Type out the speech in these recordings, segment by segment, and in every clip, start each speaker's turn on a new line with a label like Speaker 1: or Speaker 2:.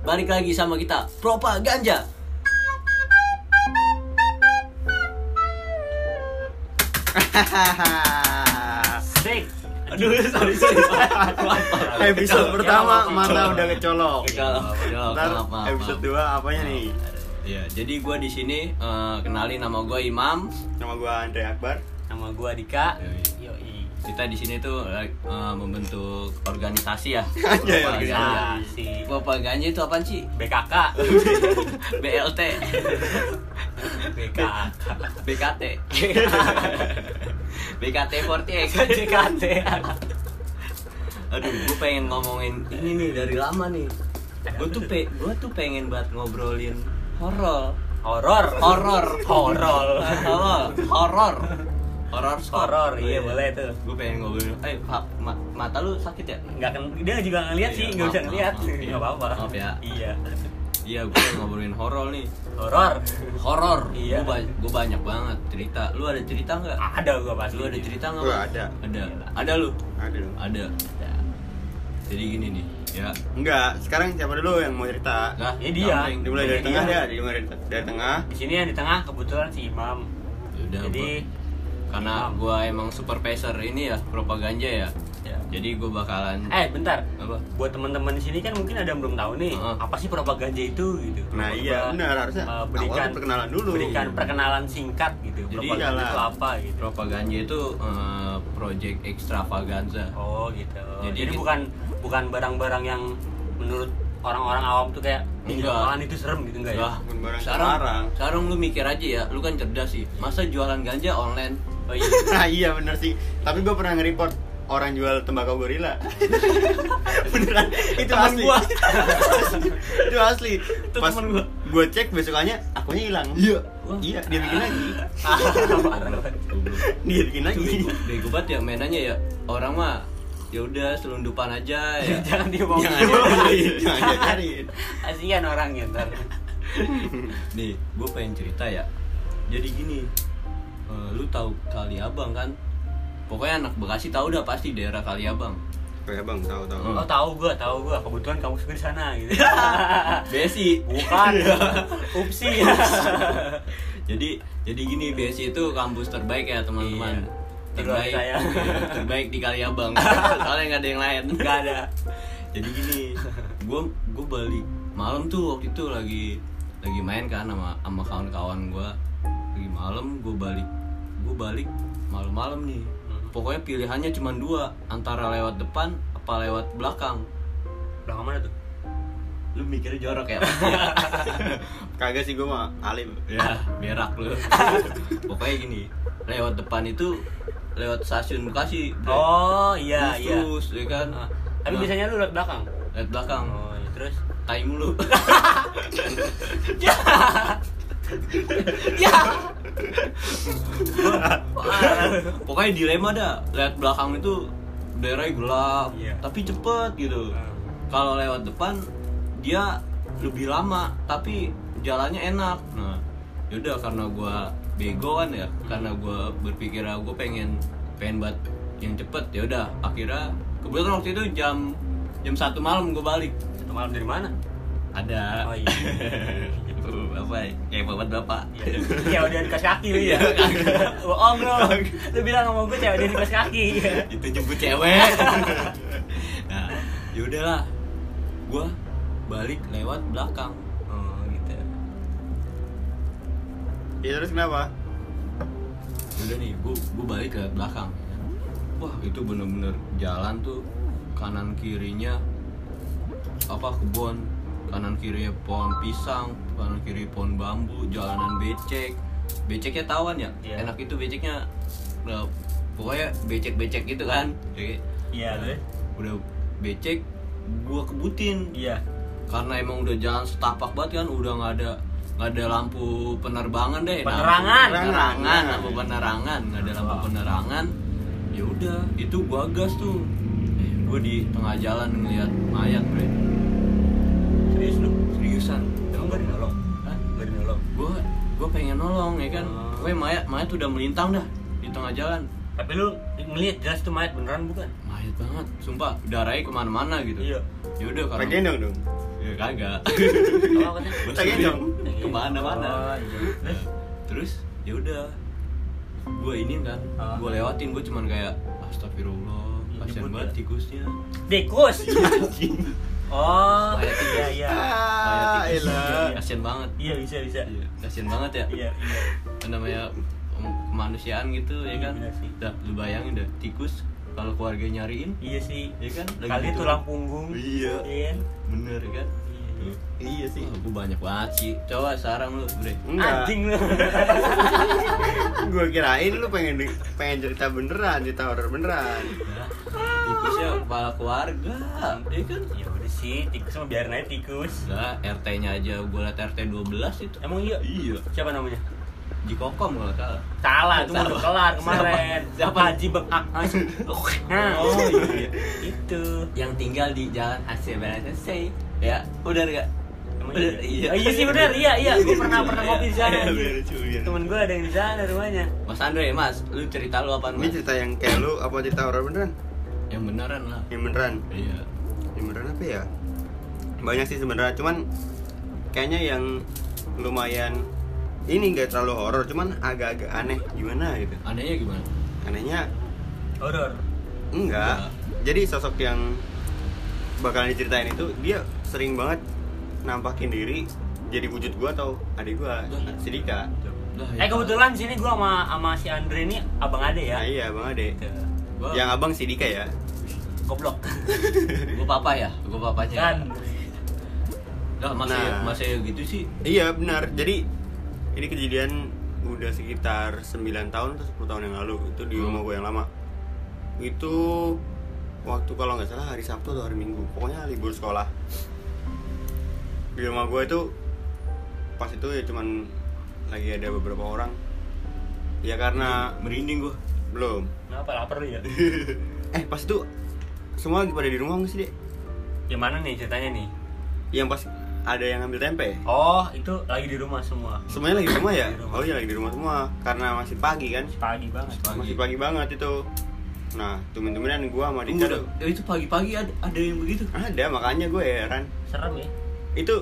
Speaker 1: balik lagi sama kita propaganda
Speaker 2: Steak.
Speaker 1: aduh sorry sorry
Speaker 3: episode
Speaker 2: Kecolok,
Speaker 3: pertama
Speaker 2: kecolok,
Speaker 3: mata
Speaker 2: kecolok.
Speaker 3: udah kecolok. Ntar
Speaker 1: apa
Speaker 3: episode 2 apanya nih?
Speaker 1: Iya, jadi gue di sini eh, kenalin nama gue Imam.
Speaker 3: Nama gua Andre Akbar.
Speaker 2: Nama gua Dika. Yoi.
Speaker 1: Kita di sini tuh eh, membentuk organisasi ya.
Speaker 3: Anjay,
Speaker 1: Propaganda.
Speaker 2: Organisasi.
Speaker 1: Propaganda itu apaan sih?
Speaker 2: BKK.
Speaker 1: BLT,
Speaker 2: BKK.
Speaker 1: BKT, BKT48.
Speaker 2: JKT.
Speaker 1: Aduh, gue pengen ngomongin ini nih dari lama nih. Gue tuh pe, gue tuh pengen buat ngobrolin horor,
Speaker 2: Horor.
Speaker 1: horor,
Speaker 2: Horor.
Speaker 1: horor, horor, horor,
Speaker 2: Horor. Iya boleh tuh.
Speaker 1: Gue pengen ngobrolin. Eh, Pak, ma- mata lu sakit ya?
Speaker 2: Nggak kan dia juga ngeliat sih,
Speaker 1: Iya,
Speaker 2: nggak bisa
Speaker 1: maaf,
Speaker 2: ngeliat.
Speaker 1: maaf, maaf.
Speaker 2: Nggak apa-apa.
Speaker 1: Maaf ya.
Speaker 2: Iya.
Speaker 1: Iya, gue pengen ngobrolin horor nih.
Speaker 2: Horor.
Speaker 1: Horor.
Speaker 2: Iya.
Speaker 1: Gue banyak banget cerita. Lu ada cerita nggak?
Speaker 2: Ada gua pasti.
Speaker 1: Lu ada cerita nggak?
Speaker 3: Gua
Speaker 1: Bang?
Speaker 3: ada.
Speaker 1: Ada. Ada lu?
Speaker 3: Ada dong.
Speaker 1: Ada. Jadi gini nih, ya.
Speaker 3: Enggak, sekarang siapa dulu yang mau cerita?
Speaker 1: Nah,
Speaker 2: ya dia.
Speaker 1: gampang.
Speaker 3: Dimulai dari
Speaker 2: Iya.
Speaker 3: tengah ya, dimulai dari, dari tengah.
Speaker 2: Di sini yang di tengah kebetulan si Imam.
Speaker 1: Yaudah,
Speaker 2: Jadi
Speaker 1: karena
Speaker 2: Imam.
Speaker 1: gua emang supervisor ini ya propaganda ya
Speaker 2: Ya.
Speaker 1: jadi gua bakalan
Speaker 2: Eh bentar,
Speaker 1: Apa?
Speaker 2: buat teman-teman di sini kan mungkin ada yang belum tahu nih
Speaker 1: Heeh.
Speaker 2: apa sih propaganda itu gitu.
Speaker 3: Nah,
Speaker 2: Coba,
Speaker 3: iya, benar, harusnya
Speaker 2: eh,
Speaker 3: awal
Speaker 2: berikan
Speaker 3: perkenalan dulu.
Speaker 2: Berikan
Speaker 3: Iya.
Speaker 2: perkenalan singkat gitu.
Speaker 1: Jadi,
Speaker 2: propaganda
Speaker 3: iyalah.
Speaker 2: itu apa gitu?
Speaker 1: propaganda itu eh, project extravaganza
Speaker 2: Oh gitu.
Speaker 1: Jadi
Speaker 2: Jadi,
Speaker 1: kita-
Speaker 2: bukan bukan barang-barang yang menurut orang-orang awam tuh kayak "Ih,
Speaker 1: Enggak.
Speaker 2: apaan itu serem gitu enggak ya?
Speaker 1: Lah,
Speaker 3: Bukan barang
Speaker 1: sekarang,
Speaker 3: sembarang.
Speaker 1: sekarang lu mikir aja ya lu kan cerdas sih masa jualan ganja online
Speaker 2: Oh iya.
Speaker 3: Nah, iya bener sih. Tapi gua pernah nge-report orang jual tembakau gorila. Beneran itu
Speaker 2: Temen
Speaker 3: asli.
Speaker 2: gua.
Speaker 3: itu asli.
Speaker 2: Itu
Speaker 3: Pas
Speaker 2: temen gua.
Speaker 3: gua cek besokannya akunya hilang.
Speaker 1: Iya.
Speaker 3: Wah, Iya, dia bikin lagi.
Speaker 2: Ah, parah.
Speaker 1: Goblok.
Speaker 3: Dia bikin
Speaker 1: Itu
Speaker 3: lagi.
Speaker 1: bego, bego banget ya mainannya ya orang mah ya udah selundupan aja ya
Speaker 2: Jangan diomongin. Iya.
Speaker 3: Jangan diajarin, jangan diajarin.
Speaker 2: Kasihan orangnya ntar.
Speaker 1: nih gue pengen cerita ya jadi gini eh, lu tahu Kaliabang kan pokoknya anak Bekasi tahu dah pasti daerah Kaliabang
Speaker 3: Kayak Bang, tahu tahu.
Speaker 1: Hmm.
Speaker 2: Oh tahu gua, tahu gua. Kebetulan kamu suka di sana gitu.
Speaker 1: Besi
Speaker 2: Bukan. Upsi.
Speaker 1: jadi jadi gini BSI itu kampus terbaik ya teman-teman
Speaker 2: Iya.
Speaker 1: terbaik
Speaker 2: Menurut saya.
Speaker 1: iya, terbaik di Kaliabang soalnya nggak ada yang lain
Speaker 2: Enggak ada.
Speaker 1: jadi gini gue gue balik malam tuh waktu itu lagi lagi main kan sama sama kawan-kawan gue lagi malam gue balik gue balik malam-malam nih pokoknya pilihannya cuma dua antara lewat depan apa lewat belakang
Speaker 2: Belakang mana tuh?
Speaker 1: lu mikirnya jorok ya
Speaker 3: Kagak sih gua mah alim.
Speaker 1: ya berak lu pokoknya gini lewat depan itu lewat stasiun Bekasi Bre.
Speaker 2: Oh iya iya.
Speaker 1: Khusus, ya kan
Speaker 2: Ah,
Speaker 1: Nah,
Speaker 2: Tapi biasanya lu lewat belakang.
Speaker 1: lewat belakang
Speaker 2: Oh, iya. terus
Speaker 1: tai mulu
Speaker 2: ya.
Speaker 1: pokoknya dilema dah lihat belakang itu daerahnya gelap
Speaker 2: Iya.
Speaker 1: tapi cepet gitu kalau lewat depan dia lebih lama tapi jalannya enak nah yaudah karena gua bego kan ya karena gua berpikir ah, gua pengen pengen buat yang cepet yaudah akhirnya kebetulan waktu itu jam jam satu malam gua balik
Speaker 2: Satu malam dari mana?
Speaker 1: ada
Speaker 2: Oh, iya.
Speaker 1: apa ya? kayak bapak bapak
Speaker 2: Iya. Cewek dia dikasih kaki lu
Speaker 1: Iya.
Speaker 2: ya. Bohong lu. Lu bilang sama gue cewek dia dikasih kaki.
Speaker 1: itu jemput cewek nah yaudahlah gua balik lewat belakang
Speaker 2: Oh, gitu.
Speaker 3: Ya terus kenapa?
Speaker 1: udah nih gua gua balik lewat belakang wah itu bener-bener jalan tuh kanan kirinya apa kebun kanan kirinya pohon pisang kanan kiri pohon bambu jalanan becek beceknya tawan ya
Speaker 2: Iya.
Speaker 1: enak itu beceknya nah, pokoknya becek-becek gitu kan Jadi,
Speaker 2: Iya,
Speaker 1: nah,
Speaker 2: terus?
Speaker 1: udah becek gua kebutin
Speaker 2: Iya.
Speaker 1: karena emang udah jalan setapak banget kan udah nggak ada nggak ada lampu penerbangan deh Nah,
Speaker 2: Penerangan.
Speaker 1: lampu penerangan lampu penerangan nggak ada lampu
Speaker 2: Wow.
Speaker 1: penerangan ya udah itu gua gas tuh eh, gua di tengah jalan ngeliat mayat bre
Speaker 2: Serius lu?
Speaker 1: seriusan
Speaker 2: Emang gak dinolong?
Speaker 1: Hah?
Speaker 2: Gak dinolong.
Speaker 1: gua gua pengen nolong ya kan
Speaker 2: Hmm.
Speaker 1: gue mayat mayat udah melintang dah di tengah jalan
Speaker 2: Tapi lu ngelihat jelas tuh mayat beneran bukan?
Speaker 1: mayat banget sumpah darahnya kemana-mana gitu
Speaker 2: Iya.
Speaker 1: ya udah karena
Speaker 3: Pakai dong dong.
Speaker 1: ya kagak
Speaker 2: Apa katanya?
Speaker 3: Tanya dong.
Speaker 1: kemana-mana
Speaker 2: Oh, iya. Terus?
Speaker 1: terus ya udah gue ini kan
Speaker 2: Ah.
Speaker 1: gue lewatin gue cuman kayak astagfirullah
Speaker 2: Iya,
Speaker 1: kasihan
Speaker 2: nyebut
Speaker 1: banget
Speaker 2: ya.
Speaker 1: tikusnya
Speaker 2: Tikus.
Speaker 1: anjing
Speaker 2: Oh, iya iya.
Speaker 1: Kayak
Speaker 3: Ah,
Speaker 1: tikus,
Speaker 3: elah.
Speaker 1: kasihan banget
Speaker 2: Iya bisa bisa.
Speaker 1: Iya, kasihan banget ya
Speaker 2: Iya iya.
Speaker 1: namanya em- kemanusiaan gitu ya
Speaker 2: Iya,
Speaker 1: kan
Speaker 2: bener sih.
Speaker 1: Dah, lu bayangin dah tikus kalau keluarga nyariin
Speaker 2: Iya sih.
Speaker 1: ya kan lagi
Speaker 2: Kali
Speaker 1: gitu.
Speaker 2: tulang punggung.
Speaker 1: Iya.
Speaker 2: Iya.
Speaker 1: bener ya kan
Speaker 2: Iya.
Speaker 3: Iya sih.
Speaker 1: Wah, gua banyak banget sih coba sekarang lu bre
Speaker 3: Enggak.
Speaker 2: Anjing lu.
Speaker 3: Gue kirain lu pengen di- pengen cerita beneran, cerita horor beneran.
Speaker 1: Nah, tikusnya kepala keluarga ya kan
Speaker 2: ya udah sih, tikus mah biarin aja tikus.
Speaker 1: Nah, RT-nya aja gua liat RT 12 itu.
Speaker 2: Emang iya?
Speaker 1: Iya.
Speaker 2: Siapa namanya?
Speaker 1: Jikokom kalau nggak salah.
Speaker 2: Salah, itu udah
Speaker 1: Salah.
Speaker 2: kelar kemarin.
Speaker 1: Siapa?
Speaker 2: Haji Bekak. Nah,
Speaker 1: Oh, iya.
Speaker 2: Itu.
Speaker 1: Yang tinggal di Jalan Aceh Barat Aceh. Ya, udah enggak?
Speaker 2: Emang iya? Oh, iya sih benar, iya iya. Gue pernah pernah ngopi di sana.
Speaker 1: Iya,
Speaker 2: anjing.
Speaker 3: biar lucu, biar lucu.
Speaker 2: Temen gue ada yang di sana rumahnya.
Speaker 1: Mas Andre, Mas, lu cerita lu apaan,
Speaker 3: Ini
Speaker 1: Mas?
Speaker 3: cerita yang kayak lu apa cerita horor beneran?
Speaker 1: Yang beneran lah.
Speaker 3: Yang beneran.
Speaker 1: Iya.
Speaker 3: Yang beneran apa ya? Banyak sih sebenarnya, cuman kayaknya yang lumayan ini nggak terlalu horor, cuman agak-agak aneh gimana gitu.
Speaker 1: Anehnya gimana?
Speaker 3: Anehnya
Speaker 2: Horor.
Speaker 3: Enggak. Jadi sosok yang bakalan diceritain itu dia sering banget nampakin diri jadi wujud gua atau adik gua, si Dika.
Speaker 1: Lah,
Speaker 3: Iya.
Speaker 2: Eh kebetulan sini gue sama sama si Andre ini abang ada ya.
Speaker 3: Nah, iya Bang Ade.
Speaker 2: Gitu.
Speaker 1: Gua,
Speaker 3: Yang abang si Dika ya.
Speaker 2: Goblok.
Speaker 1: gua papa ya? Gua
Speaker 3: Iya.
Speaker 1: papanya.
Speaker 2: Kan.
Speaker 1: Lah, masih
Speaker 3: Nah.
Speaker 1: masih gitu sih.
Speaker 3: Iya benar. Jadi ini kejadian udah sekitar 9 tahun atau 10 tahun yang lalu itu di
Speaker 1: Hmm.
Speaker 3: rumah gue yang lama. Itu waktu kalau nggak salah hari Sabtu atau hari Minggu, pokoknya libur sekolah. Di rumah gue itu pas itu ya cuman lagi ada beberapa orang. Ya karena
Speaker 1: merinding gua.
Speaker 3: belum.
Speaker 2: Kenapa lapar lu ya?
Speaker 3: Eh pas itu semua lagi pada di rumah nggak sih Dek?
Speaker 2: Gimana nih ceritanya nih?
Speaker 3: Yang pas ada yang ngambil tempe.
Speaker 2: Oh, itu lagi di rumah semua.
Speaker 3: Semuanya lagi di rumah ya?
Speaker 2: Di rumah.
Speaker 3: Oh iya lagi di rumah semua karena masih pagi kan.
Speaker 2: Pagi banget.
Speaker 1: Pagi.
Speaker 3: masih pagi banget itu nah temen-temenan gue sama Dika
Speaker 1: Tunggu
Speaker 3: tuh
Speaker 1: dah. Eh, Itu pagi-pagi ada, ada yang begitu.
Speaker 3: ada makanya gue heran
Speaker 2: Serem ya?
Speaker 3: itu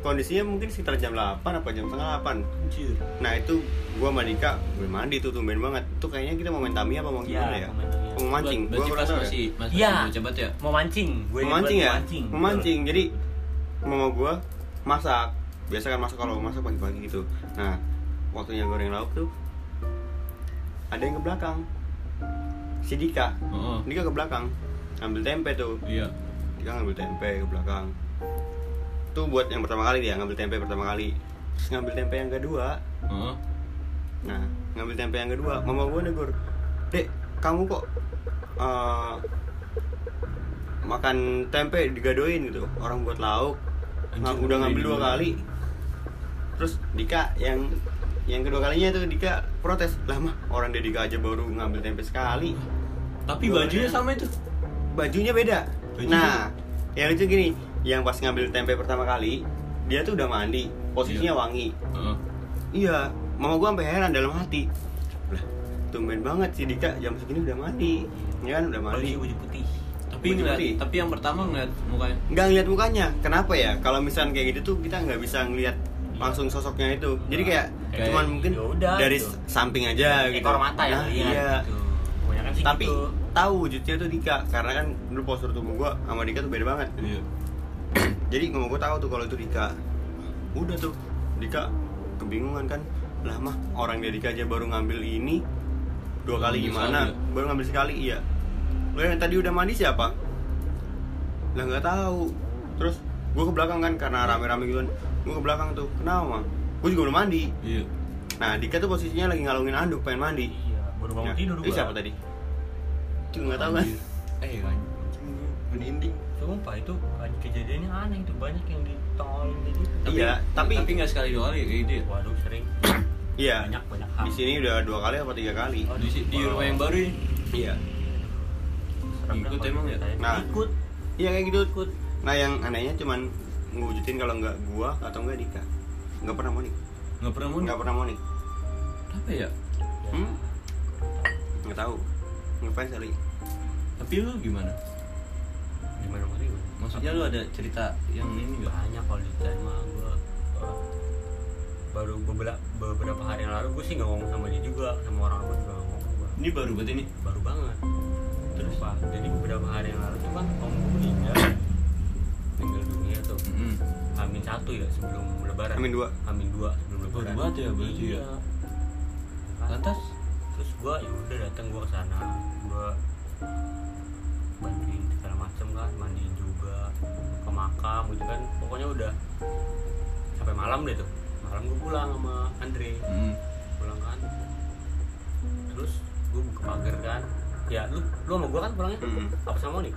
Speaker 3: kondisinya mungkin sekitar jam 8 apa jam setengah 8
Speaker 1: Anjir.
Speaker 3: nah itu gue sama Dika gue mandi tuh tumben banget itu kayaknya kita mau main tami apa mau gimana ya
Speaker 2: Iya, mau main Tamiya.
Speaker 3: mau mancing gue
Speaker 1: Berarti pas masih masih
Speaker 2: Iya.
Speaker 1: bocah banget ya.
Speaker 2: Mau mancing. Gue
Speaker 3: mau ya? mancing ya mau mancing jadi mama gue masak biasa kan masak kalau masak pagi-pagi gitu nah waktunya goreng lauk tuh ada yang ke belakang si Dika
Speaker 1: Heeh.
Speaker 3: Dika kan ke belakang ambil tempe tuh
Speaker 1: Iya.
Speaker 3: Dika ngambil tempe ke belakang Itu buat yang pertama kali dia ngambil tempe pertama kali Terus ngambil tempe yang kedua
Speaker 1: Heeh.
Speaker 3: Nah ngambil tempe yang kedua Mama gue negur Dek kamu kok eh, Makan tempe digadoin gitu Orang buat lauk Nah,
Speaker 1: Anjir,
Speaker 3: Udah ngambil dua
Speaker 1: dua
Speaker 3: kali Terus Dika yang yang kedua kalinya tuh Dika protes Lama orang dia Dika aja baru ngambil tempe sekali
Speaker 1: Tapi
Speaker 3: Gua
Speaker 1: bajunya
Speaker 3: ada.
Speaker 1: sama itu.
Speaker 3: bajunya beda.
Speaker 1: Bajunya?
Speaker 3: Nah, yang lucu gini, yang pas ngambil tempe pertama kali, dia tuh udah mandi, posisinya
Speaker 1: Iya.
Speaker 3: wangi.
Speaker 1: Heeh.
Speaker 3: Iya, mama gua sampai heran dalam hati. Lah, tumben banget si Dika jam segini udah mandi. Ya kan udah mandi.
Speaker 2: Baju baju putih.
Speaker 1: Tapi
Speaker 3: Baju
Speaker 1: ngeliat,
Speaker 3: putih.
Speaker 1: tapi yang pertama ngeliat mukanya.
Speaker 3: Nggak ngeliat mukanya. Kenapa ya? Kalau misalnya kayak gitu tuh kita nggak bisa ngeliat langsung sosoknya itu. Jadi kayak,
Speaker 1: Kayak
Speaker 3: cuman mungkin
Speaker 2: Iya. Nah, ya udah
Speaker 3: dari
Speaker 2: gitu.
Speaker 3: samping aja gitu.
Speaker 2: Ekor mata ya.
Speaker 3: Nah,
Speaker 2: lihat
Speaker 3: iya.
Speaker 2: gitu. Kebanyakan sih
Speaker 3: Tapi
Speaker 2: gitu.
Speaker 3: tahu wujudnya tuh Dika karena kan dulu postur tubuh gua sama Dika tuh beda banget.
Speaker 1: Iya.
Speaker 3: jadi ngomong gue tahu tuh kalau itu Dika udah tuh Dika kebingungan kan lah mah orang dia Dika aja baru ngambil ini dua kali
Speaker 1: Ngambil
Speaker 3: gimana
Speaker 1: sekali
Speaker 3: baru ngambil sekali iya lo yang tadi udah mandi siapa lah nggak tahu terus gue ke belakang kan karena rame-rame gitu kan gue ke belakang tuh kenapa mah gue juga belum mandi
Speaker 1: Iya.
Speaker 3: nah Dika tuh posisinya lagi ngalungin anduk pengen mandi
Speaker 2: Iya, baru bangun
Speaker 3: Nah,
Speaker 2: tidur
Speaker 3: itu
Speaker 2: gua.
Speaker 3: siapa tadi itu nggak tahu kan
Speaker 1: Anjir. Eh, anjing. Merinding.
Speaker 2: Sumpah itu kejadiannya aneh itu banyak yang ditolong jadi.
Speaker 3: Iya, tapi-
Speaker 1: Ya, tapi nggak sekali dua kali kayak gitu. ya?
Speaker 2: gitu. Waduh sering.
Speaker 3: iya
Speaker 2: Banyak banyak hal.
Speaker 3: di sini udah dua kali apa tiga kali
Speaker 2: Oh,
Speaker 1: Di, si- di rumah yang baru ini.
Speaker 3: iya
Speaker 2: Serem dah
Speaker 1: Ikut
Speaker 2: kalau
Speaker 1: emang ya?
Speaker 2: diceritain.
Speaker 3: Nah.
Speaker 2: Ikut.
Speaker 3: Iya kayak gitu Kut. Nah yang anehnya cuman ngewujudin kalau nggak gua atau nggak Dika. Nggak pernah mau nih.
Speaker 1: Nggak pernah mau.
Speaker 3: Nggak pernah mau nih.
Speaker 1: Apa ya?
Speaker 3: Hmm? Nggak tahu. Ngapain kali?
Speaker 1: Tapi lu gimana?
Speaker 2: Gimana mau
Speaker 1: Mas
Speaker 2: ikut? Ya,
Speaker 1: maksudnya Ya, lu ada cerita yang ini nggak
Speaker 2: banyak kalau dicari mah gue baru beberapa beberapa hari yang lalu gue sih nggak ngomong sama dia juga sama orang lain juga nggak ngomong gua.
Speaker 1: ini baru buat ini
Speaker 2: baru banget
Speaker 1: Terus?
Speaker 2: terus pak jadi beberapa hari yang lalu tuh kan om gue meninggal meninggal dunia tuh
Speaker 1: Mm-mm.
Speaker 2: Amin satu ya sebelum lebaran
Speaker 3: Amin dua.
Speaker 2: Amin dua sebelum
Speaker 1: Baru
Speaker 2: lebaran
Speaker 1: banget ya, berarti ya.
Speaker 2: iya. Kan?
Speaker 1: lantas
Speaker 2: terus gua ya udah datang gua ke sana gua bantuin segala macem kan mandiin juga ke makam gitu kan pokoknya udah sampai malam deh tuh malam gua pulang sama Andre
Speaker 1: Mm.
Speaker 2: pulang kan terus gua buka pagar kan ya lu lu sama gua kan pulangnya
Speaker 3: Mm-mm.
Speaker 2: apa sama nih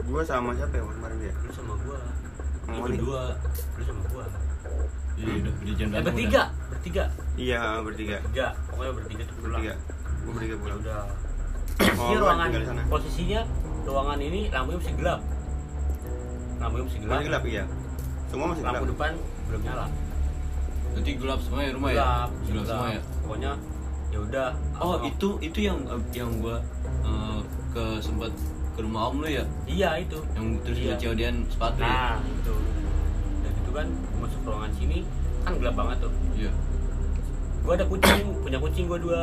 Speaker 3: Gua sama siapa ya kemarin ya?
Speaker 2: lu sama gua
Speaker 3: Sama
Speaker 2: lu
Speaker 3: Moni.
Speaker 2: berdua lu sama gua
Speaker 1: ya udah udah jangan
Speaker 2: eh
Speaker 1: berantem,
Speaker 2: bertiga bertiga
Speaker 3: Iya bertiga.
Speaker 2: tiga pokoknya bertiga tuh pulang
Speaker 3: Bertiga. Gua bertiga
Speaker 2: Ya
Speaker 3: pulang.
Speaker 2: udah
Speaker 3: Oh,
Speaker 2: posisinya
Speaker 3: gua
Speaker 2: ruangan
Speaker 3: tinggal di sana.
Speaker 2: posisinya ruangan ini lampunya masih gelap lampunya masih gelap,
Speaker 3: Masih gelap iya. Semua masih gelap.
Speaker 2: lampu depan belum nyala
Speaker 1: udah. nanti gelap semua ya rumah ya
Speaker 2: gelap
Speaker 1: gelap semua ya
Speaker 2: pokoknya ya udah
Speaker 1: oh
Speaker 2: Sama-
Speaker 1: itu itu yang yang gua eh, ke sempat ke rumah om lu ya
Speaker 2: iya itu
Speaker 1: yang terus
Speaker 2: Iya.
Speaker 1: dia COD-an sepatu ya?
Speaker 2: nah itu dan itu kan masuk ruangan sini kan gelap banget tuh
Speaker 1: iya
Speaker 2: gua ada kucing punya kucing gua dua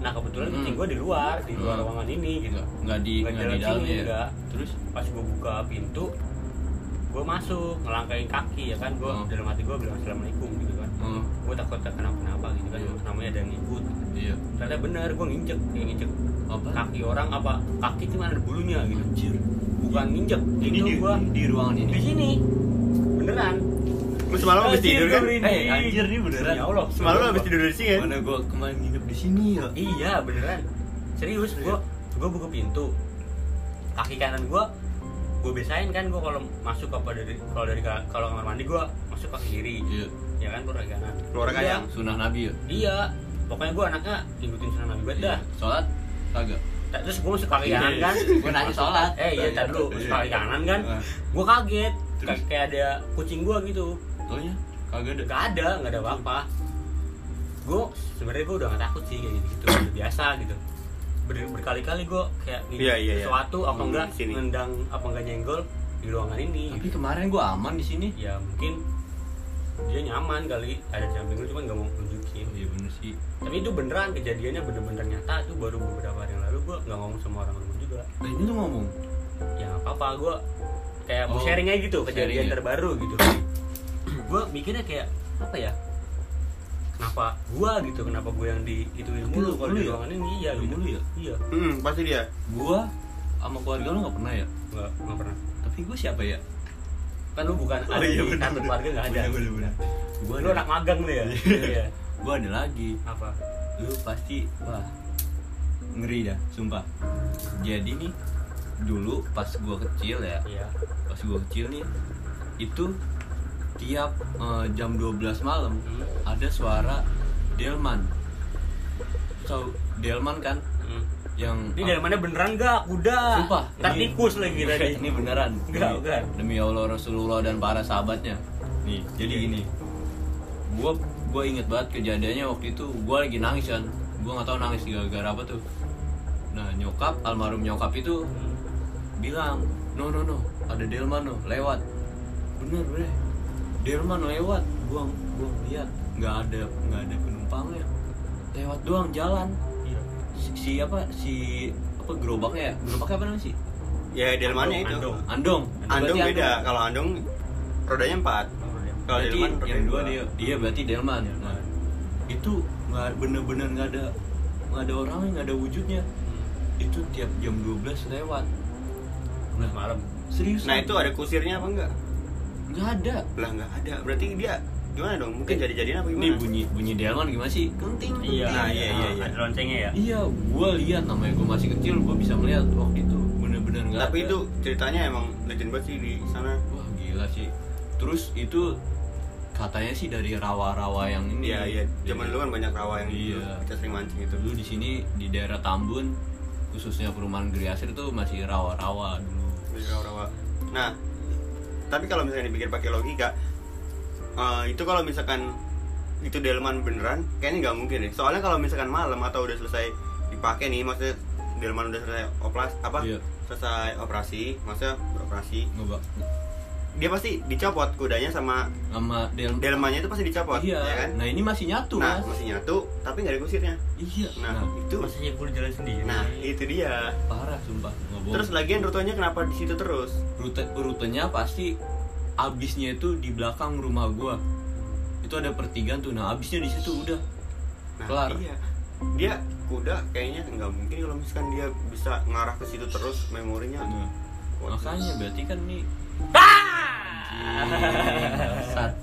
Speaker 2: nah kebetulan
Speaker 1: Hmm.
Speaker 2: kucing gua di luar di luar
Speaker 1: Hmm.
Speaker 2: ruangan ini gitu
Speaker 1: nggak nggak di
Speaker 2: Nggak
Speaker 1: nggak di
Speaker 2: jalan
Speaker 1: dalam
Speaker 2: sini,
Speaker 1: ya
Speaker 2: nggak.
Speaker 1: terus
Speaker 2: pas gue buka pintu gue masuk ngelangkain kaki ya kan gue
Speaker 1: Hmm.
Speaker 2: dalam hati gue bilang assalamualaikum gitu kan
Speaker 1: oh
Speaker 2: gue takut tak kenapa kenapa gitu kan
Speaker 1: Iya.
Speaker 2: namanya ada yang ngikut
Speaker 1: iya
Speaker 2: ternyata bener gue nginjek kayak nginjek
Speaker 1: apa
Speaker 2: kaki orang apa kaki itu ada bulunya gitu
Speaker 1: anjir Iya.
Speaker 2: bukan nginjek
Speaker 1: ini
Speaker 2: itu
Speaker 1: di,
Speaker 2: gue
Speaker 1: di ruangan ini
Speaker 2: di sini beneran
Speaker 3: Lu semalam habis
Speaker 2: Anjir,
Speaker 3: tidur kan?
Speaker 2: gua merinding.
Speaker 1: Eh, anjir, ini beneran.
Speaker 2: Demi Ya Allah
Speaker 3: Semalam lu habis tidur di sini kan?
Speaker 1: mana gua kemarin nginep di sini ya
Speaker 2: iya beneran serius gue gue buka pintu kaki kanan gue gue biasain kan gue kalau masuk apa dari kalau dari ka- kalau kamar mandi gue masuk kaki kiri
Speaker 1: iya
Speaker 2: ya kan keluar kaki kanan
Speaker 3: Keluar kaki
Speaker 2: Iya.
Speaker 3: kanan.
Speaker 1: sunah nabi ya Iya.
Speaker 2: iya pokoknya gue anaknya ngikutin sunan nabi banget dah
Speaker 1: sholat kagak
Speaker 2: Ta- terus gue masuk kaki kanan kan
Speaker 1: Gua nanya sholat. Iya.
Speaker 2: eh iya tadi dulu masuk kaki kanan kan gue kaget
Speaker 1: Terus?
Speaker 2: Kayak- kayak ada kucing gue gitu
Speaker 1: taunya Oh, iya? kagak ada
Speaker 2: nggak ada nggak ada apa-apa gue sebenarnya gue udah gak takut sih kayak gitu udah biasa gitu Ber- berkali-kali gue kayak
Speaker 3: Iya, iya, iya.
Speaker 2: sesuatu apa
Speaker 3: Hmm,
Speaker 2: enggak
Speaker 3: di sini.
Speaker 2: nendang apa enggak nyenggol di ruangan ini
Speaker 1: tapi kemarin gua aman di sini
Speaker 2: ya mungkin dia nyaman kali ada di samping lu cuman nggak mau nunjukin
Speaker 1: oh, iya bener sih
Speaker 2: tapi itu beneran kejadiannya bener-bener nyata itu baru beberapa hari yang lalu gue nggak ngomong sama orang rumah juga
Speaker 1: nah, ini tuh ngomong
Speaker 2: ya nggak apa-apa gue kayak mau
Speaker 1: Oh,
Speaker 2: sharing aja gitu kejadian
Speaker 1: sharing ya.
Speaker 2: terbaru gitu gue mikirnya kayak apa ya kenapa gue gitu kenapa gue yang di ituin
Speaker 1: Tapi
Speaker 2: mulu
Speaker 1: lu-
Speaker 2: kalau
Speaker 1: lu
Speaker 2: di
Speaker 1: ya?
Speaker 2: ruangan ini iya
Speaker 1: Lu
Speaker 2: gitu.
Speaker 1: mulu ya?
Speaker 2: iya
Speaker 3: Hmm, pasti dia.
Speaker 1: gua sama keluarga lu nggak pernah ya
Speaker 2: nggak nggak pernah
Speaker 1: tapi gua siapa ya
Speaker 2: kan lu bukan
Speaker 1: Oh,
Speaker 2: ada
Speaker 1: iya,
Speaker 2: di
Speaker 1: bener,
Speaker 2: satu
Speaker 1: bener.
Speaker 2: keluarga nggak ada
Speaker 1: Bener, bener, bener. Gua
Speaker 2: lu
Speaker 1: ada-
Speaker 2: anak magang lu ya iya
Speaker 1: gua ada lagi
Speaker 2: apa
Speaker 1: lu pasti wah ngeri dah sumpah jadi nih dulu pas gua kecil ya
Speaker 2: iya
Speaker 1: pas gua kecil nih itu tiap eh, jam 12 malam
Speaker 2: Hmm.
Speaker 1: ada suara delman so delman kan
Speaker 2: Hmm.
Speaker 1: yang
Speaker 2: ini dari mana beneran gak kuda
Speaker 1: Ah. Sumpah,
Speaker 2: Ntar
Speaker 1: ini- Iya,
Speaker 2: tikus lagi tadi
Speaker 1: ini beneran Iya.
Speaker 2: Enggak,
Speaker 1: Demi-
Speaker 2: bukan.
Speaker 1: demi allah rasulullah dan para sahabatnya nih jadi gini gua gua inget banget kejadiannya waktu itu gua lagi nangis kan gua nggak tahu nangis gara-gara apa tuh nah nyokap almarhum nyokap itu bilang no no no ada delman no lewat bener bener delman lewat gua gua lihat nggak ada nggak ada penumpangnya lewat doang jalan
Speaker 2: Iya.
Speaker 1: si, si apa si apa gerobaknya ya gerobaknya apa namanya sih
Speaker 3: Ya delmannya itu.
Speaker 2: Andong.
Speaker 1: Andong.
Speaker 3: Andong
Speaker 1: Berarti
Speaker 3: beda. Kalau Andong rodanya empat. Kalau
Speaker 1: Berarti
Speaker 3: delman rodanya
Speaker 1: yang dua
Speaker 3: dua. Iya,
Speaker 1: dia, dia berarti Delman. Nah, itu nggak bener-bener nggak ada nggak ada orangnya nggak ada wujudnya. Itu tiap jam 12 lewat. Nah,
Speaker 2: malam
Speaker 1: serius?
Speaker 3: Nah itu ada kusirnya apa enggak?
Speaker 1: nggak ada.
Speaker 3: Lah nggak ada. Berarti dia gimana dong? Mungkin jadi-jadian apa
Speaker 1: Ini
Speaker 3: Oh, gimana?
Speaker 1: bunyi bunyi Delman gimana sih? Kenting.
Speaker 2: iya
Speaker 3: Nah, iya, iya, iya.
Speaker 2: ada loncengnya ya
Speaker 1: Iya, gua lihat namanya gua masih kecil, gua bisa melihat waktu itu bener-bener nggak
Speaker 3: Tapi
Speaker 1: ada.
Speaker 3: itu ceritanya emang legend banget sih di sana.
Speaker 1: wah gila sih. Terus itu katanya sih dari rawa-rawa yang ini.
Speaker 3: Iya iya. Zaman dulu kan banyak rawa yang
Speaker 1: Iya.
Speaker 3: kita sering mancing itu.
Speaker 1: dulu di sini di daerah Tambun khususnya perumahan Griasir itu masih rawa-rawa dulu
Speaker 3: Dari rawa-rawa. Nah, tapi kalau misalnya dipikir pakai logika, eh, itu kalau misalkan itu delman beneran, kayaknya nggak mungkin deh. Soalnya kalau misalkan malam atau udah selesai dipakai nih, maksudnya delman udah selesai oplas apa
Speaker 1: Iya.
Speaker 3: selesai operasi maksudnya beroperasi
Speaker 1: ngebak
Speaker 3: dia pasti dicopot kudanya sama
Speaker 1: sama delm
Speaker 3: delmannya itu pasti dicopot
Speaker 1: iya
Speaker 3: ya kan
Speaker 1: nah ini masih nyatu
Speaker 3: nah
Speaker 1: Mas.
Speaker 3: masih nyatu tapi nggak ada kusirnya
Speaker 1: iya
Speaker 3: nah, itu
Speaker 2: masih nyebur jalan sendiri
Speaker 3: nah itu dia
Speaker 1: parah sumpah nggak bohong.
Speaker 3: terus lagian rutenya kenapa di situ terus
Speaker 1: rute rutenya pasti abisnya itu di belakang rumah gua itu ada pertigaan tuh nah abisnya di situ udah
Speaker 3: nah
Speaker 1: Kelar.
Speaker 3: iya dia kuda kayaknya nggak mungkin kalau misalkan dia bisa ngarah ke situ terus memorinya
Speaker 1: Nah,
Speaker 3: kuat.
Speaker 1: makanya berarti kan nih Sat.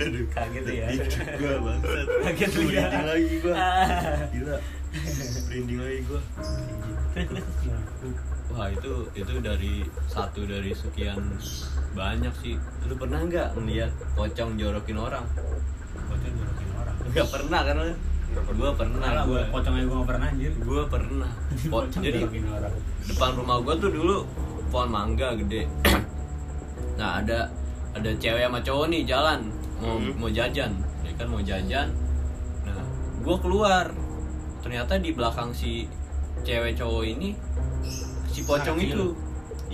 Speaker 3: Aduh,
Speaker 2: Kaget ya.
Speaker 3: sedikit gua bangsat.
Speaker 2: Kaget lu ya.
Speaker 3: Merinding lagi gua.
Speaker 2: Ah.
Speaker 3: Gila. Merinding lagi gua.
Speaker 1: Wah itu itu dari satu dari sekian banyak sih. Lu pernah nggak ngeliat pocong jorokin orang?
Speaker 2: Pocong jorokin orang.
Speaker 1: Gak pernah kan? lu?
Speaker 3: Nggak pernah.
Speaker 1: Gua pernah.
Speaker 2: Nah,
Speaker 1: Gua
Speaker 2: gua pocong aja gua nggak pernah anjir.
Speaker 1: gua pernah. Po-
Speaker 2: Pocong
Speaker 1: jadi
Speaker 2: jorokin orang.
Speaker 1: depan rumah gua tuh dulu pohon mangga gede. nah ada ada cewek sama cowok nih jalan mau
Speaker 3: Mhm.
Speaker 2: Hmm.
Speaker 1: mau jajan, ya kan mau jajan. Nah gua keluar. Ternyata di belakang si cewek cowok ini si pocong
Speaker 2: Kecil.
Speaker 1: itu.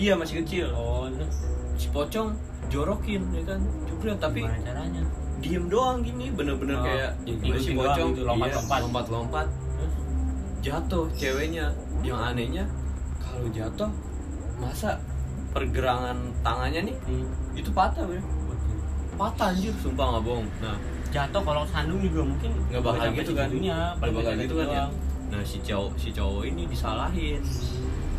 Speaker 1: Iya masih kecil.
Speaker 2: Oh, lu-
Speaker 1: si pocong jorokin ya kan jebret tapi
Speaker 2: gimana caranya?
Speaker 1: diem doang gini bener-bener
Speaker 2: Oh,
Speaker 1: kayak
Speaker 2: diikutin
Speaker 1: si
Speaker 2: doang
Speaker 1: pocong Iya,
Speaker 2: gitu, lompat-lompat.
Speaker 1: lompat lompat
Speaker 2: Terus
Speaker 1: jatuh ceweknya yang anehnya kalau jatuh masa pergerangan tangannya nih
Speaker 2: di
Speaker 1: itu patah bro patah anjir sumpah nggak bohong nah
Speaker 2: jatuh kalau sandung juga mungkin
Speaker 1: nggak bakal
Speaker 2: sampai
Speaker 1: gitu kan
Speaker 2: segitunya,
Speaker 1: nggak bakal
Speaker 2: sampai
Speaker 1: gitu kan ya
Speaker 2: doang.
Speaker 1: nah si cowok si cowok ini disalahin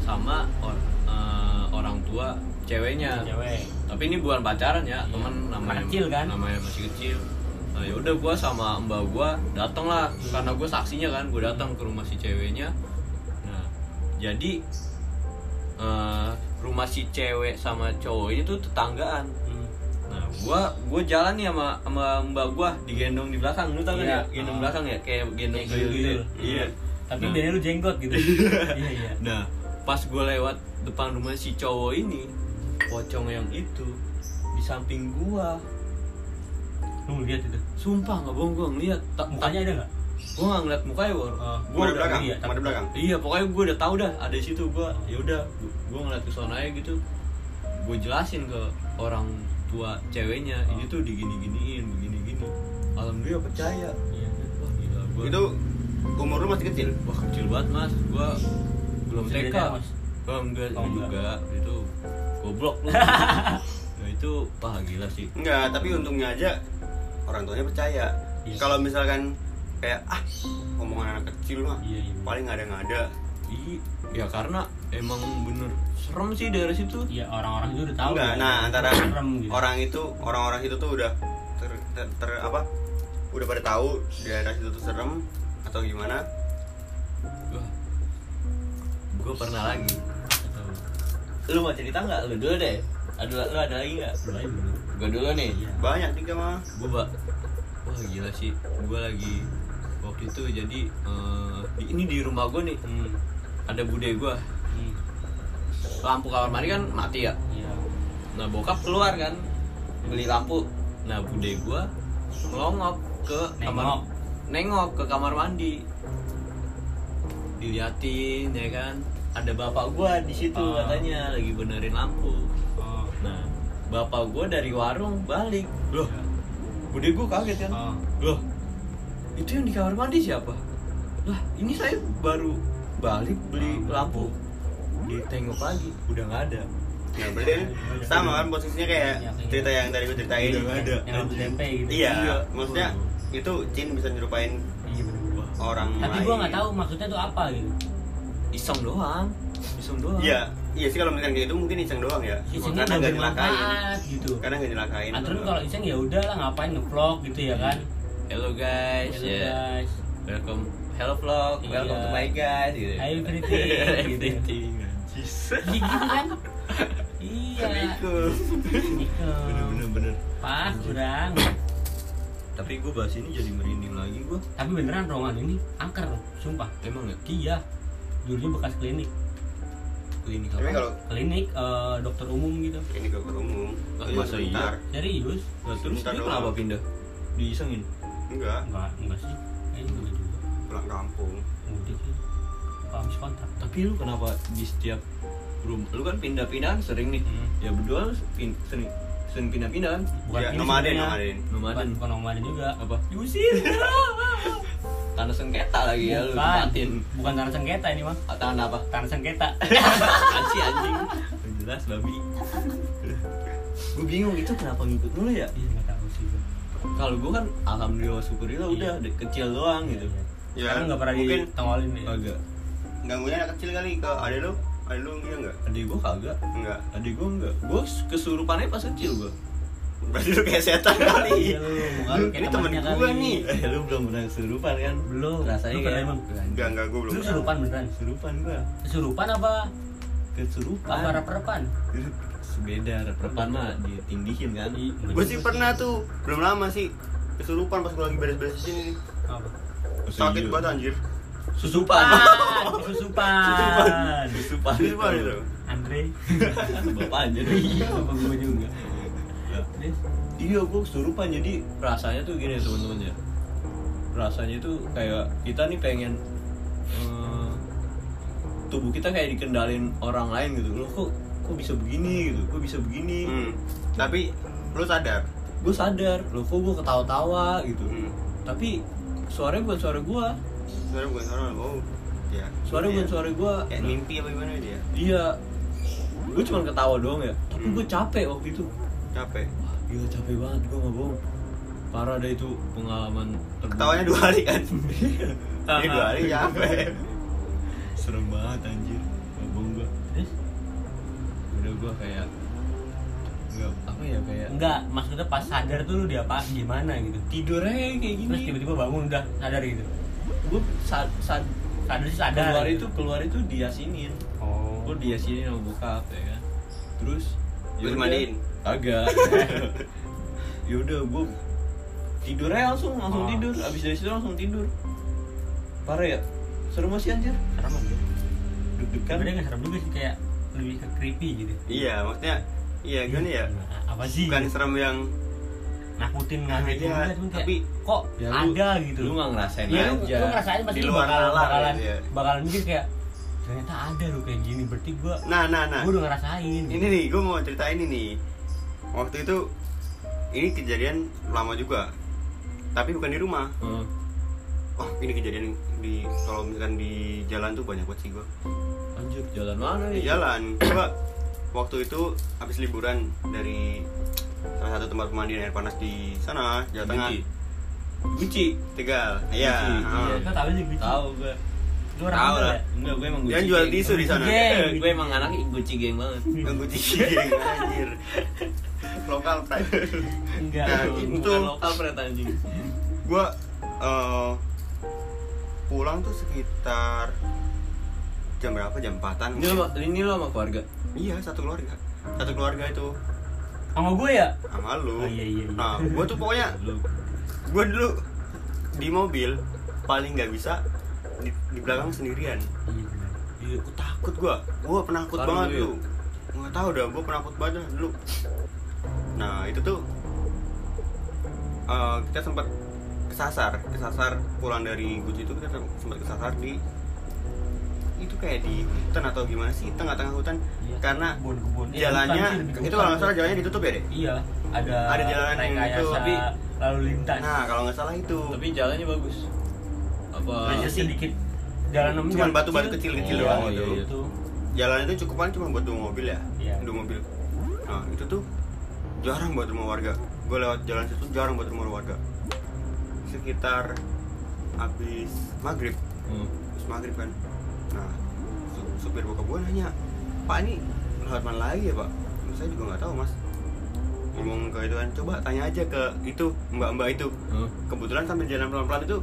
Speaker 1: sama or- eh, orang tua ceweknya
Speaker 2: Cewek.
Speaker 1: tapi ini bukan pacaran ya
Speaker 2: Iya.
Speaker 1: teman namanya
Speaker 2: Anak kecil kan?
Speaker 1: namanya masih kecil nah yaudah gue sama mbak gue datang lah karena gue saksinya kan gue datang ke rumah si ceweknya nah jadi eh, rumah si cewek sama cowok ini tuh tetanggaan
Speaker 2: Hmm.
Speaker 1: nah gue gue jalan nih sama sama mbak gue digendong di belakang lu tau kan ya
Speaker 2: Iya.
Speaker 1: gendong
Speaker 2: Ah.
Speaker 1: belakang ya kayak gendong
Speaker 2: Kayak Hmm.
Speaker 1: tuyul gitu
Speaker 2: tuyul.
Speaker 1: iya
Speaker 2: Tapi
Speaker 1: Nah.
Speaker 2: bedanya lu jenggot gitu. Iya iya.
Speaker 1: Nah, pas gue lewat depan rumah si cowok ini, pocong yang itu di samping gua.
Speaker 2: Lu lihat itu.
Speaker 1: Sumpah nggak bohong gua ngeliat. Ta-
Speaker 2: Mukanya ada nggak?
Speaker 1: Gua nggak ngeliat mukanya war.
Speaker 2: Oh.
Speaker 1: Gua
Speaker 3: Gua di
Speaker 1: udah-
Speaker 3: belakang,
Speaker 2: iya,
Speaker 3: gua di belakang.
Speaker 1: Iya, pokoknya gua udah tahu dah ada di situ gua. Ya udah, gua- gua ngeliat ke aja gitu. Gua jelasin ke orang tua ceweknya,
Speaker 2: Ah.
Speaker 1: ini tuh digini-giniin, begini-gini. Alhamdulillah percaya.
Speaker 2: Iya.
Speaker 1: Wah, gila gua.
Speaker 3: Itu umur lu masih kecil.
Speaker 1: Wah, kecil banget, Mas. Gua belum
Speaker 2: Bisa
Speaker 1: TK.
Speaker 2: beda, Mas.
Speaker 1: Oh, enggak,
Speaker 2: Oh,
Speaker 1: itu
Speaker 2: enggak.
Speaker 1: juga itu goblok lu. nah, itu wah gila sih.
Speaker 3: Enggak, tapi untungnya aja orang tuanya percaya.
Speaker 2: Iya.
Speaker 3: Kalau misalkan kayak ah omongan anak kecil mah
Speaker 2: Iya iya.
Speaker 3: paling nggak ada nggak ada.
Speaker 1: Iya, ya karena emang bener serem sih dari situ.
Speaker 2: Iya orang-orang itu udah tahu.
Speaker 3: Enggak,
Speaker 2: ya.
Speaker 3: nah antara
Speaker 2: Serem gitu.
Speaker 3: orang itu orang-orang itu tuh udah ter, ter- ter- apa? Udah pada tahu daerah situ tuh serem atau gimana?
Speaker 1: Wah. Gua pernah lagi. Lu mau cerita nggak? Lu dulu deh. Ada lu ada lagi nggak?
Speaker 2: Mulai dulu.
Speaker 1: Gua dulu nih.
Speaker 2: Iya.
Speaker 3: Banyak tiga mah. Nah,
Speaker 1: Gua ba- wah gila sih. Gua lagi waktu itu jadi eh, di- ini di rumah gua nih
Speaker 2: Hmm.
Speaker 1: ada bude gua.
Speaker 2: Hmm.
Speaker 1: Lampu kamar mandi kan mati ya.
Speaker 2: Iya.
Speaker 1: Nah bokap keluar kan beli lampu. Nah bude gua ngelongok ke
Speaker 2: Nengok.
Speaker 1: kamar nengok ke kamar mandi. Diliatin ya kan. Ada bapak gua di situ
Speaker 2: Ah.
Speaker 1: katanya lagi benerin lampu.
Speaker 2: Oh.
Speaker 1: Nah bapak gua dari warung balik. Loh,
Speaker 2: Iya.
Speaker 1: bude gua kaget kan.
Speaker 2: Oh.
Speaker 1: Loh, itu yang di kamar mandi siapa? Lah, ini saya baru balik
Speaker 2: Ah,
Speaker 1: beli lampu. Ditengok lagi, udah nggak ada.
Speaker 3: Nah, berarti kan sama kan posisinya kayak
Speaker 2: Iya, iya.
Speaker 3: cerita yang tadi gue ceritain.
Speaker 1: Udah nggak ada.
Speaker 2: Yang lampu tempe gitu.
Speaker 3: Iya,
Speaker 1: Iya.
Speaker 3: maksudnya itu Jin bisa nyerupain
Speaker 2: Iya bener.
Speaker 1: Wah,
Speaker 3: orang
Speaker 2: Tapi
Speaker 3: lain.
Speaker 2: gua nggak tahu maksudnya tuh apa gitu.
Speaker 1: iseng doang iseng doang
Speaker 3: Iya, iya sih kalau misalkan kayak gitu mungkin iseng doang ya.
Speaker 2: Isinya
Speaker 3: karena nggak Kan
Speaker 2: nggak
Speaker 3: nyelakain.
Speaker 2: bermanfaat gitu.
Speaker 3: Karena nggak nyelakain.
Speaker 2: Aturan kalau iseng ya udahlah ngapain ngevlog gitu ya kan.
Speaker 1: hello guys
Speaker 2: Hello,
Speaker 1: ya
Speaker 2: guys.
Speaker 1: welcome hello vlog
Speaker 2: Iya.
Speaker 1: welcome to my guys gitu.
Speaker 2: Hai, everything.
Speaker 1: everything
Speaker 2: gitu. Iya gitu kan. Iya.
Speaker 3: Assalamualaikum.
Speaker 2: Gitu.
Speaker 1: bener bener bener
Speaker 2: Pas kurang.
Speaker 1: tapi gue bahas ini jadi merinding lagi gue
Speaker 2: Tapi beneran ruangan ini angker, sumpah.
Speaker 1: emang ya
Speaker 2: Iya. Dulunya bekas klinik.
Speaker 1: klinik
Speaker 3: Tapi
Speaker 1: apa
Speaker 3: kalau
Speaker 2: Klinik eh, dokter umum gitu.
Speaker 3: ini ke umum,
Speaker 1: Ah,
Speaker 3: itu
Speaker 1: masa iya?
Speaker 3: sebentar.
Speaker 2: Serius?
Speaker 1: nah, terus
Speaker 3: Bentar
Speaker 1: dia
Speaker 3: doang.
Speaker 1: kenapa pindah diisengin
Speaker 3: Enggak,
Speaker 2: Enggak, enggak sih. Kayaknya enggak juga.
Speaker 3: pulang kampung.
Speaker 2: Mudik sih. kalau habis kontrak
Speaker 1: tapi lu kenapa di setiap room lu kan pindah-pindahan sering nih
Speaker 2: Hmm.
Speaker 1: ya berdua lu pin, sering sering pindah-pindah kan
Speaker 2: Bukan
Speaker 3: ya,
Speaker 2: ini
Speaker 3: nomaden
Speaker 2: sebenarnya.
Speaker 3: nomaden
Speaker 1: nomaden
Speaker 2: bukan nomaden juga
Speaker 1: Apa?
Speaker 2: diusir
Speaker 1: tanah sengketa lagi ya lu
Speaker 2: bukan
Speaker 1: tempatin
Speaker 2: bukan tanah sengketa ini mah
Speaker 1: Ah, tanah apa
Speaker 2: tanah sengketa
Speaker 1: anjing anjing Yang jelas babi gue bingung itu kenapa ngikut mulu ya
Speaker 2: Iya, nggak tahu sih gua.
Speaker 1: kalau gue kan alhamdulillah syukurillah
Speaker 2: Iya.
Speaker 1: udah de- kecil doang gitu
Speaker 3: Ya,
Speaker 2: Karena nggak iya. pernah
Speaker 3: mungkin
Speaker 2: ditongolin ya.
Speaker 1: kagak
Speaker 3: ganggunya anak kecil kali ke ade lu ade lu gitu enggak
Speaker 1: adik gue kagak
Speaker 3: enggak
Speaker 1: adik gue enggak gue kesurupannya pas kecil gue
Speaker 3: berarti lu kayak setan kali
Speaker 2: Iya, lu, muka lu kayak
Speaker 3: ini temen
Speaker 2: temannya
Speaker 3: gua
Speaker 2: kali.
Speaker 3: nih
Speaker 1: eh lu belum pernah kesurupan kan
Speaker 2: Belum.
Speaker 1: rasanya
Speaker 2: Lu pernah
Speaker 1: kayak
Speaker 2: emang?
Speaker 3: enggak enggak gua belum
Speaker 2: Lu surupan beneran.
Speaker 1: kesurupan gue
Speaker 2: Surupan apa?
Speaker 1: kesurupan
Speaker 2: Apa repan?
Speaker 1: sebeda perpan mah ditindihin kan
Speaker 3: gue sih pernah tuh belum lama sih kesurupan pas gue lagi beres-beres di sini nih.
Speaker 2: Apa? Oh,
Speaker 3: sakit banget anjir
Speaker 1: iya. susupan
Speaker 2: Ah,
Speaker 1: Ah.
Speaker 2: Susupan.
Speaker 1: susupan
Speaker 3: sakit banget itu
Speaker 2: Andre.
Speaker 1: bapak anjir
Speaker 2: Apa gua juga? Terus?
Speaker 1: Iya, gue kesurupan jadi rasanya tuh gini teman-teman ya. Rasanya tuh kayak kita nih pengen eh, tubuh kita kayak dikendalin orang lain gitu. Loh kok kok bisa begini gitu? Kok bisa begini?
Speaker 3: Hmm. tapi lu sadar
Speaker 1: Gue sadar, loh kok gue ketawa-tawa gitu.
Speaker 3: Hmm.
Speaker 1: Tapi suaranya bukan suara gue,
Speaker 3: suara bukan suara oh ya
Speaker 1: suara
Speaker 3: Iya.
Speaker 1: bukan suara gue.
Speaker 2: Nah.
Speaker 3: kayak mimpi apa gimana dia
Speaker 1: Iya, gue cuma ketawa doang ya. Tapi
Speaker 3: Hmm.
Speaker 1: gue capek waktu itu.
Speaker 3: capek
Speaker 1: Wah, gila capek banget gue nggak bohong. Parah dah itu pengalaman terburuk.
Speaker 3: ketawanya dua hari kan
Speaker 1: Ah,
Speaker 2: Iya,
Speaker 3: ini dua hari capek
Speaker 1: Serem banget anjir Ngabong gua
Speaker 2: Terus?
Speaker 1: Udah gua kayak Nggak, apa ya kayak
Speaker 2: Enggak, maksudnya pas sadar tuh lu diapa gimana gitu.
Speaker 1: Tidurnya kayak gini
Speaker 2: Terus tiba-tiba bangun udah sadar gitu.
Speaker 1: Gua saat, saat
Speaker 2: Sadar sih sadar.
Speaker 1: keluar itu Keluar itu diasinin
Speaker 2: Oh.
Speaker 1: Gua diasinin sama bokap ya kan Terus
Speaker 3: Lu
Speaker 1: yaudah.
Speaker 3: dimandiin?
Speaker 1: Kagak Yaudah gua Tidurnya langsung, langsung
Speaker 2: Oh.
Speaker 1: tidur Abis dari situ langsung tidur Parah ya? Serem sih anjir
Speaker 2: Serem aja. Sebenarnya
Speaker 1: Deg-degan
Speaker 2: nggak Kan? serem juga sih kayak lebih ke creepy gitu. Nah,
Speaker 3: iya maksudnya iya gimana ya
Speaker 2: Apa sih?
Speaker 3: bukan serem yang
Speaker 2: nakutin
Speaker 3: Iya,
Speaker 2: ngagetin juga, cuman kayak,
Speaker 3: tapi-
Speaker 2: kok
Speaker 1: Ya, lu-
Speaker 2: ada gitu
Speaker 1: Lu nggak ngerasain
Speaker 2: ya, lu,
Speaker 1: aja
Speaker 2: lu ngerasain pasti
Speaker 3: Di
Speaker 2: lu
Speaker 3: luar
Speaker 2: bakalan
Speaker 3: nalar
Speaker 2: bakalan,
Speaker 3: gitu ya.
Speaker 2: bakalan mikir kayak ternyata ada lu kayak gini berarti gua
Speaker 3: nah nah nah
Speaker 2: gua udah ngerasain
Speaker 3: ini nih gue mau cerita ini nih waktu itu ini kejadian lama juga tapi bukan di rumah
Speaker 1: Heeh.
Speaker 3: wah ini kejadian di kalau misalkan di jalan tuh banyak banget sih gue
Speaker 1: Oh, Anjir, jalan mana
Speaker 3: di
Speaker 1: nih?
Speaker 3: jalan coba waktu itu habis liburan dari salah satu tempat pemandian air panas di sana Jawa Tengah
Speaker 1: Guci. Guci.
Speaker 3: Tegal iya
Speaker 1: Guci,
Speaker 3: heeh.
Speaker 1: iya.
Speaker 2: Lu tahu sih gitu
Speaker 1: Tahu gue.
Speaker 2: lu orang
Speaker 3: Tahu
Speaker 2: Sunda
Speaker 3: lah.
Speaker 2: ya?
Speaker 1: Enggak, gue emang Guci.
Speaker 3: Dia jual
Speaker 1: geng.
Speaker 3: tisu di sana.
Speaker 1: Geng, gue emang anak Guci geng banget.
Speaker 3: Ganggu ciki anjir lokal pride
Speaker 2: enggak
Speaker 3: Nah,
Speaker 2: lu.
Speaker 3: itu.
Speaker 1: Bukan lokal ternyata anjing.
Speaker 3: gue eh, pulang tuh sekitar jam berapa jam 4-an
Speaker 1: Ini lo, ini lo sama keluarga.
Speaker 3: iya satu keluarga satu keluarga itu
Speaker 2: sama gua ya
Speaker 3: sama lu
Speaker 2: Oh, iya, iya, iya.
Speaker 3: nah gue tuh pokoknya
Speaker 1: Lu.
Speaker 3: gue dulu di mobil paling nggak bisa di, di belakang sendirian Iya, aku takut gua. Gua penakut
Speaker 1: Sekarang
Speaker 3: banget
Speaker 2: ya.
Speaker 1: dulu
Speaker 3: dulu. Nggak tahu dah, gua penakut banget dah dulu. Nah, itu tuh eh, kita sempat kesasar, kesasar pulang dari Guci itu kita sempat kesasar di itu kayak di hutan atau gimana sih tengah-tengah hutan
Speaker 2: Iya.
Speaker 3: karena
Speaker 2: Kebun-kebun. Eh,
Speaker 3: Kan jalannya
Speaker 2: hutan sih, lebih ke
Speaker 3: itu
Speaker 2: hutan
Speaker 3: kalau nggak
Speaker 2: tuh.
Speaker 3: salah jalannya ditutup ya deh
Speaker 2: iya ada
Speaker 3: Ada jalan yang
Speaker 2: rekayasa
Speaker 3: itu, tapi-
Speaker 2: lalu lintas
Speaker 3: nah kalau nggak salah itu
Speaker 1: Tapi jalannya bagus. Apa?
Speaker 2: Hanya sedikit jalan
Speaker 3: Cuman
Speaker 2: jalan
Speaker 3: batu-batu kecil-kecil
Speaker 2: Iya,
Speaker 1: doang
Speaker 2: iya,
Speaker 1: gitu.
Speaker 2: itu
Speaker 3: jalan itu cukup paling cuma buat dua mobil ya
Speaker 2: Iya.
Speaker 3: dua mobil nah itu tuh jarang buat rumah warga gue lewat jalan situ jarang buat rumah warga sekitar habis maghrib
Speaker 1: Hmm.
Speaker 3: habis maghrib kan nah su- supir bokap gue nanya pak ini lewat mana lagi ya pak saya juga nggak tahu mas ngomong ke itu kan coba tanya aja ke itu mbak mbak itu
Speaker 1: Hmm.
Speaker 3: kebetulan sambil jalan pelan pelan itu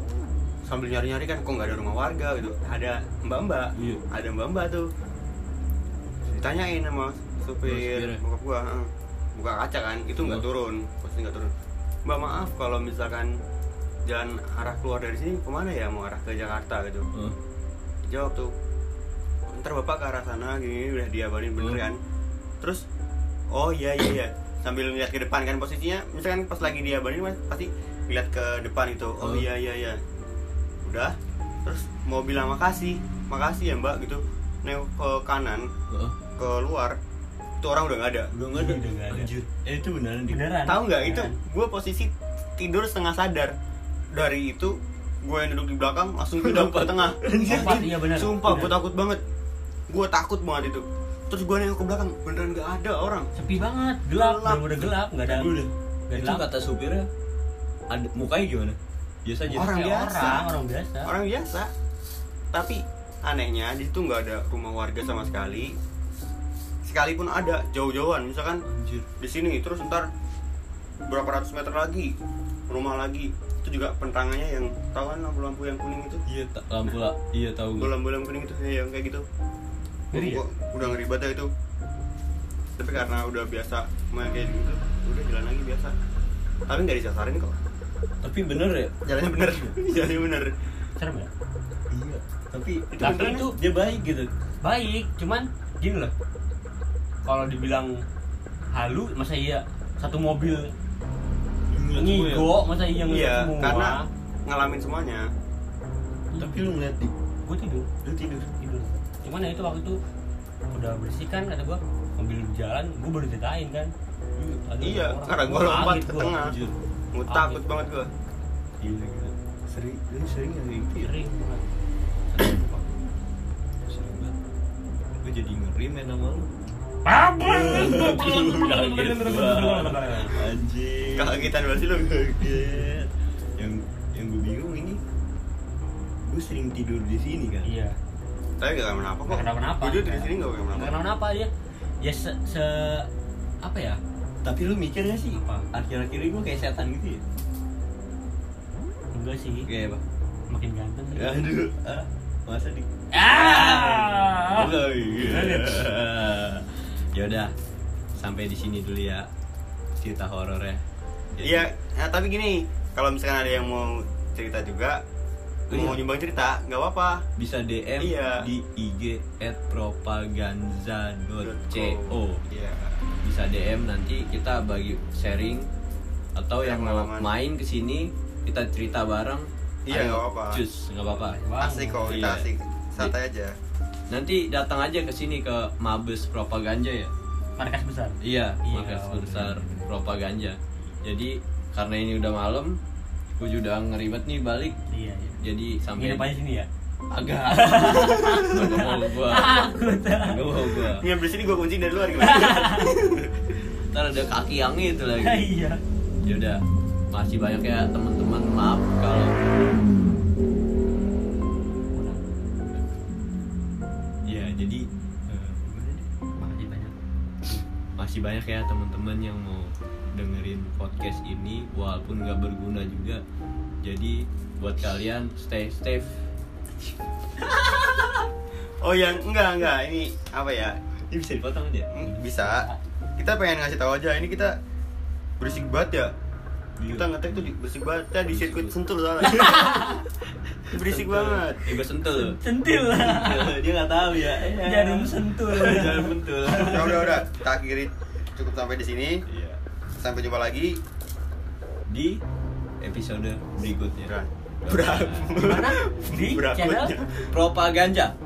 Speaker 3: sambil nyari nyari kan kok nggak ada rumah warga gitu ada mbak mbak
Speaker 1: Iya.
Speaker 3: ada mbak mbak tuh ditanyain sama supir
Speaker 1: Supirnya.
Speaker 3: bokap gua heeh. buka kaca kan itu nggak
Speaker 1: Oh.
Speaker 3: turun pasti nggak turun mbak maaf kalau misalkan jalan arah keluar dari sini kemana ya mau arah ke Jakarta gitu
Speaker 1: Hmm.
Speaker 3: jawab tuh ntar bapak ke arah sana gini udah diabarin bener
Speaker 1: Hmm.
Speaker 3: kan terus oh iya iya iya sambil ngeliat ke depan kan posisinya misalkan pas lagi diabarin mas pasti ngeliat ke depan itu oh
Speaker 1: Hmm.
Speaker 3: iya iya iya udah terus mau bilang makasih makasih ya mbak gitu nengok ke kanan
Speaker 1: Heeh.
Speaker 3: keluar itu orang udah nggak ada
Speaker 1: Udah nggak ada.
Speaker 2: Udah nggak ada.
Speaker 1: Anjir. Eh itu beneran di.
Speaker 2: beneran
Speaker 3: tahu nggak itu
Speaker 2: Beneran.
Speaker 3: gue posisi tidur setengah sadar dari itu gue yang duduk di belakang langsung tidur ke
Speaker 1: Lompat.
Speaker 3: tengah
Speaker 2: Lompat, iya bener.
Speaker 3: sumpah gue
Speaker 2: Bener.
Speaker 3: takut banget gue takut banget itu terus gue nengok ke belakang beneran nggak ada orang
Speaker 2: sepi banget gelap
Speaker 3: Gelap.
Speaker 2: gelap udah gelap nggak ada
Speaker 1: Udah.
Speaker 2: nggak
Speaker 1: Itu
Speaker 2: gelap
Speaker 1: kata supirnya ada mukanya gimana? Biasa aja.
Speaker 3: Iya, Orang
Speaker 2: Kayak
Speaker 3: biasa.
Speaker 2: orang orang biasa
Speaker 3: orang biasa tapi anehnya di situ nggak ada rumah warga sama sekali sekalipun ada jauh-jauhan misalkan
Speaker 1: Anjir.
Speaker 3: di sini terus ntar berapa ratus meter lagi rumah lagi itu juga pentangannya yang tahu kan lampu-lampu yang kuning itu
Speaker 1: Iya ta- lampu lah. Iya tahu gue.
Speaker 3: bolam-bolam kuning itu ya, yang kayak gitu
Speaker 2: Ngeri ya?
Speaker 3: Gua- udah ngeri banget ya itu tapi karena udah biasa main kayak gitu udah jalan lagi biasa tapi nggak disasarin kok
Speaker 1: Tapi bener ya.
Speaker 3: jalannya bener jalannya bener
Speaker 2: serem ya
Speaker 1: Iya. Tapi itu
Speaker 2: Tapi
Speaker 1: beneran
Speaker 2: itu-
Speaker 1: dia baik gitu.
Speaker 2: baik cuman gini loh kalau dibilang halu masa iya satu mobil
Speaker 1: Ngeliat semua ya.
Speaker 2: ngigo masa iya ngeliat
Speaker 3: iya
Speaker 2: semua
Speaker 3: karena ngalamin semuanya
Speaker 1: Tapi lu ngeliat di.
Speaker 2: gue tidur
Speaker 1: Lu tidur.
Speaker 2: tidur cuman ya itu waktu itu udah bersih kan kata gue mobil di jalan gue baru ceritain kan Ada
Speaker 3: iya
Speaker 2: orang.
Speaker 3: karena gue
Speaker 2: Gua
Speaker 3: lompat
Speaker 2: kaget
Speaker 3: ke
Speaker 2: gua.
Speaker 3: tengah
Speaker 1: Anjir.
Speaker 3: gue
Speaker 2: Kaget.
Speaker 3: takut banget gue
Speaker 1: Gila gila. Sering, lu sering yang kayak gitu ya?
Speaker 2: Sering.
Speaker 1: Sering banget. Gue jadi ngeri main sama lu.
Speaker 2: Iya.
Speaker 1: Kaget banget. Anjir.
Speaker 3: kagetan banget sih lu
Speaker 1: Kaget. Yang yang gue bingung ini gue sering tidur di sini kan.
Speaker 2: iya
Speaker 3: tapi gak kenapa kok
Speaker 2: Nggak kenapa-napa.
Speaker 3: jujur di sini gak kenapa
Speaker 2: nggak
Speaker 3: kenapa
Speaker 2: kenapa ya ya se, se apa ya
Speaker 1: Tapi lu mikir gak sih?
Speaker 2: Apa?
Speaker 1: Akhir-akhir ini gue kayak setan gitu ya?
Speaker 2: enggak sih
Speaker 1: Kayak apa?
Speaker 2: makin ganteng sih.
Speaker 1: Aduh, ah, masa di
Speaker 2: Ah!
Speaker 1: Oh, iya. ya udah sampai di sini dulu ya cerita horornya Jadi-
Speaker 3: Iya, nah, tapi gini, kalau misalkan ada yang mau cerita juga,
Speaker 1: Iya.
Speaker 3: mau nyumbang cerita, nggak apa-apa.
Speaker 1: bisa DM
Speaker 3: Iya.
Speaker 1: di IG at propaganza.co
Speaker 3: Iya.
Speaker 1: bisa DM nanti kita bagi sharing atau yang mau
Speaker 3: Pengalaman.
Speaker 1: main ke sini kita cerita bareng
Speaker 3: Iya,
Speaker 1: Ayo,
Speaker 3: nggak apa-apa.
Speaker 1: cus nggak
Speaker 2: Ah!
Speaker 1: apa-apa
Speaker 2: Wah,
Speaker 3: Asik kok, kita
Speaker 1: Iya.
Speaker 3: asik. Santai aja.
Speaker 1: nanti datang aja ke sini ke Mabes Propaganda ya
Speaker 2: markas besar
Speaker 1: Iya,
Speaker 2: Iya,
Speaker 1: markas
Speaker 2: oke.
Speaker 1: besar propaganda. Jadi karena ini udah malam, gue juga ngeribet nih balik.
Speaker 2: iya iya
Speaker 1: Jadi sampai
Speaker 2: nginep aja sini ya
Speaker 1: agak nggak mau gua, nggak mau gua.
Speaker 3: Nggak di sini gue kunci dari luar gimana?
Speaker 1: Ntar ada kaki yang itu lagi.
Speaker 2: iya
Speaker 1: Ya udah, masih banyak ya teman-teman. Maaf kalau ya
Speaker 2: Iya,
Speaker 1: jadi eh, gimana deh?
Speaker 2: Makasih banyak.
Speaker 1: masih banyak ya teman-teman yang mau dengerin podcast ini walaupun nggak berguna juga jadi buat kalian stay safe
Speaker 3: oh yang enggak enggak ini apa ya?
Speaker 1: ini bisa dipotong aja
Speaker 3: Hmm, Bisa. Kita pengen ngasih tahu aja ini kita berisik banget ya.
Speaker 1: Iya.
Speaker 3: Kita ngetek tuh di- berisik banget ya di sirkuit sentul soalnya. berisik banget.
Speaker 1: eh, gue sentul
Speaker 2: sentil
Speaker 1: dia nggak tahu ya Eh.
Speaker 2: jarum sentul
Speaker 1: jarum sentul
Speaker 3: Iya. Ya udah udah, kita akhiri cukup sampai di sini.
Speaker 1: Iya.
Speaker 3: Sampai jumpa lagi.
Speaker 1: di episode berikutnya
Speaker 3: Bra. Bra.
Speaker 2: Di mana? Di
Speaker 3: Beraputnya.
Speaker 2: channel?
Speaker 1: propaganda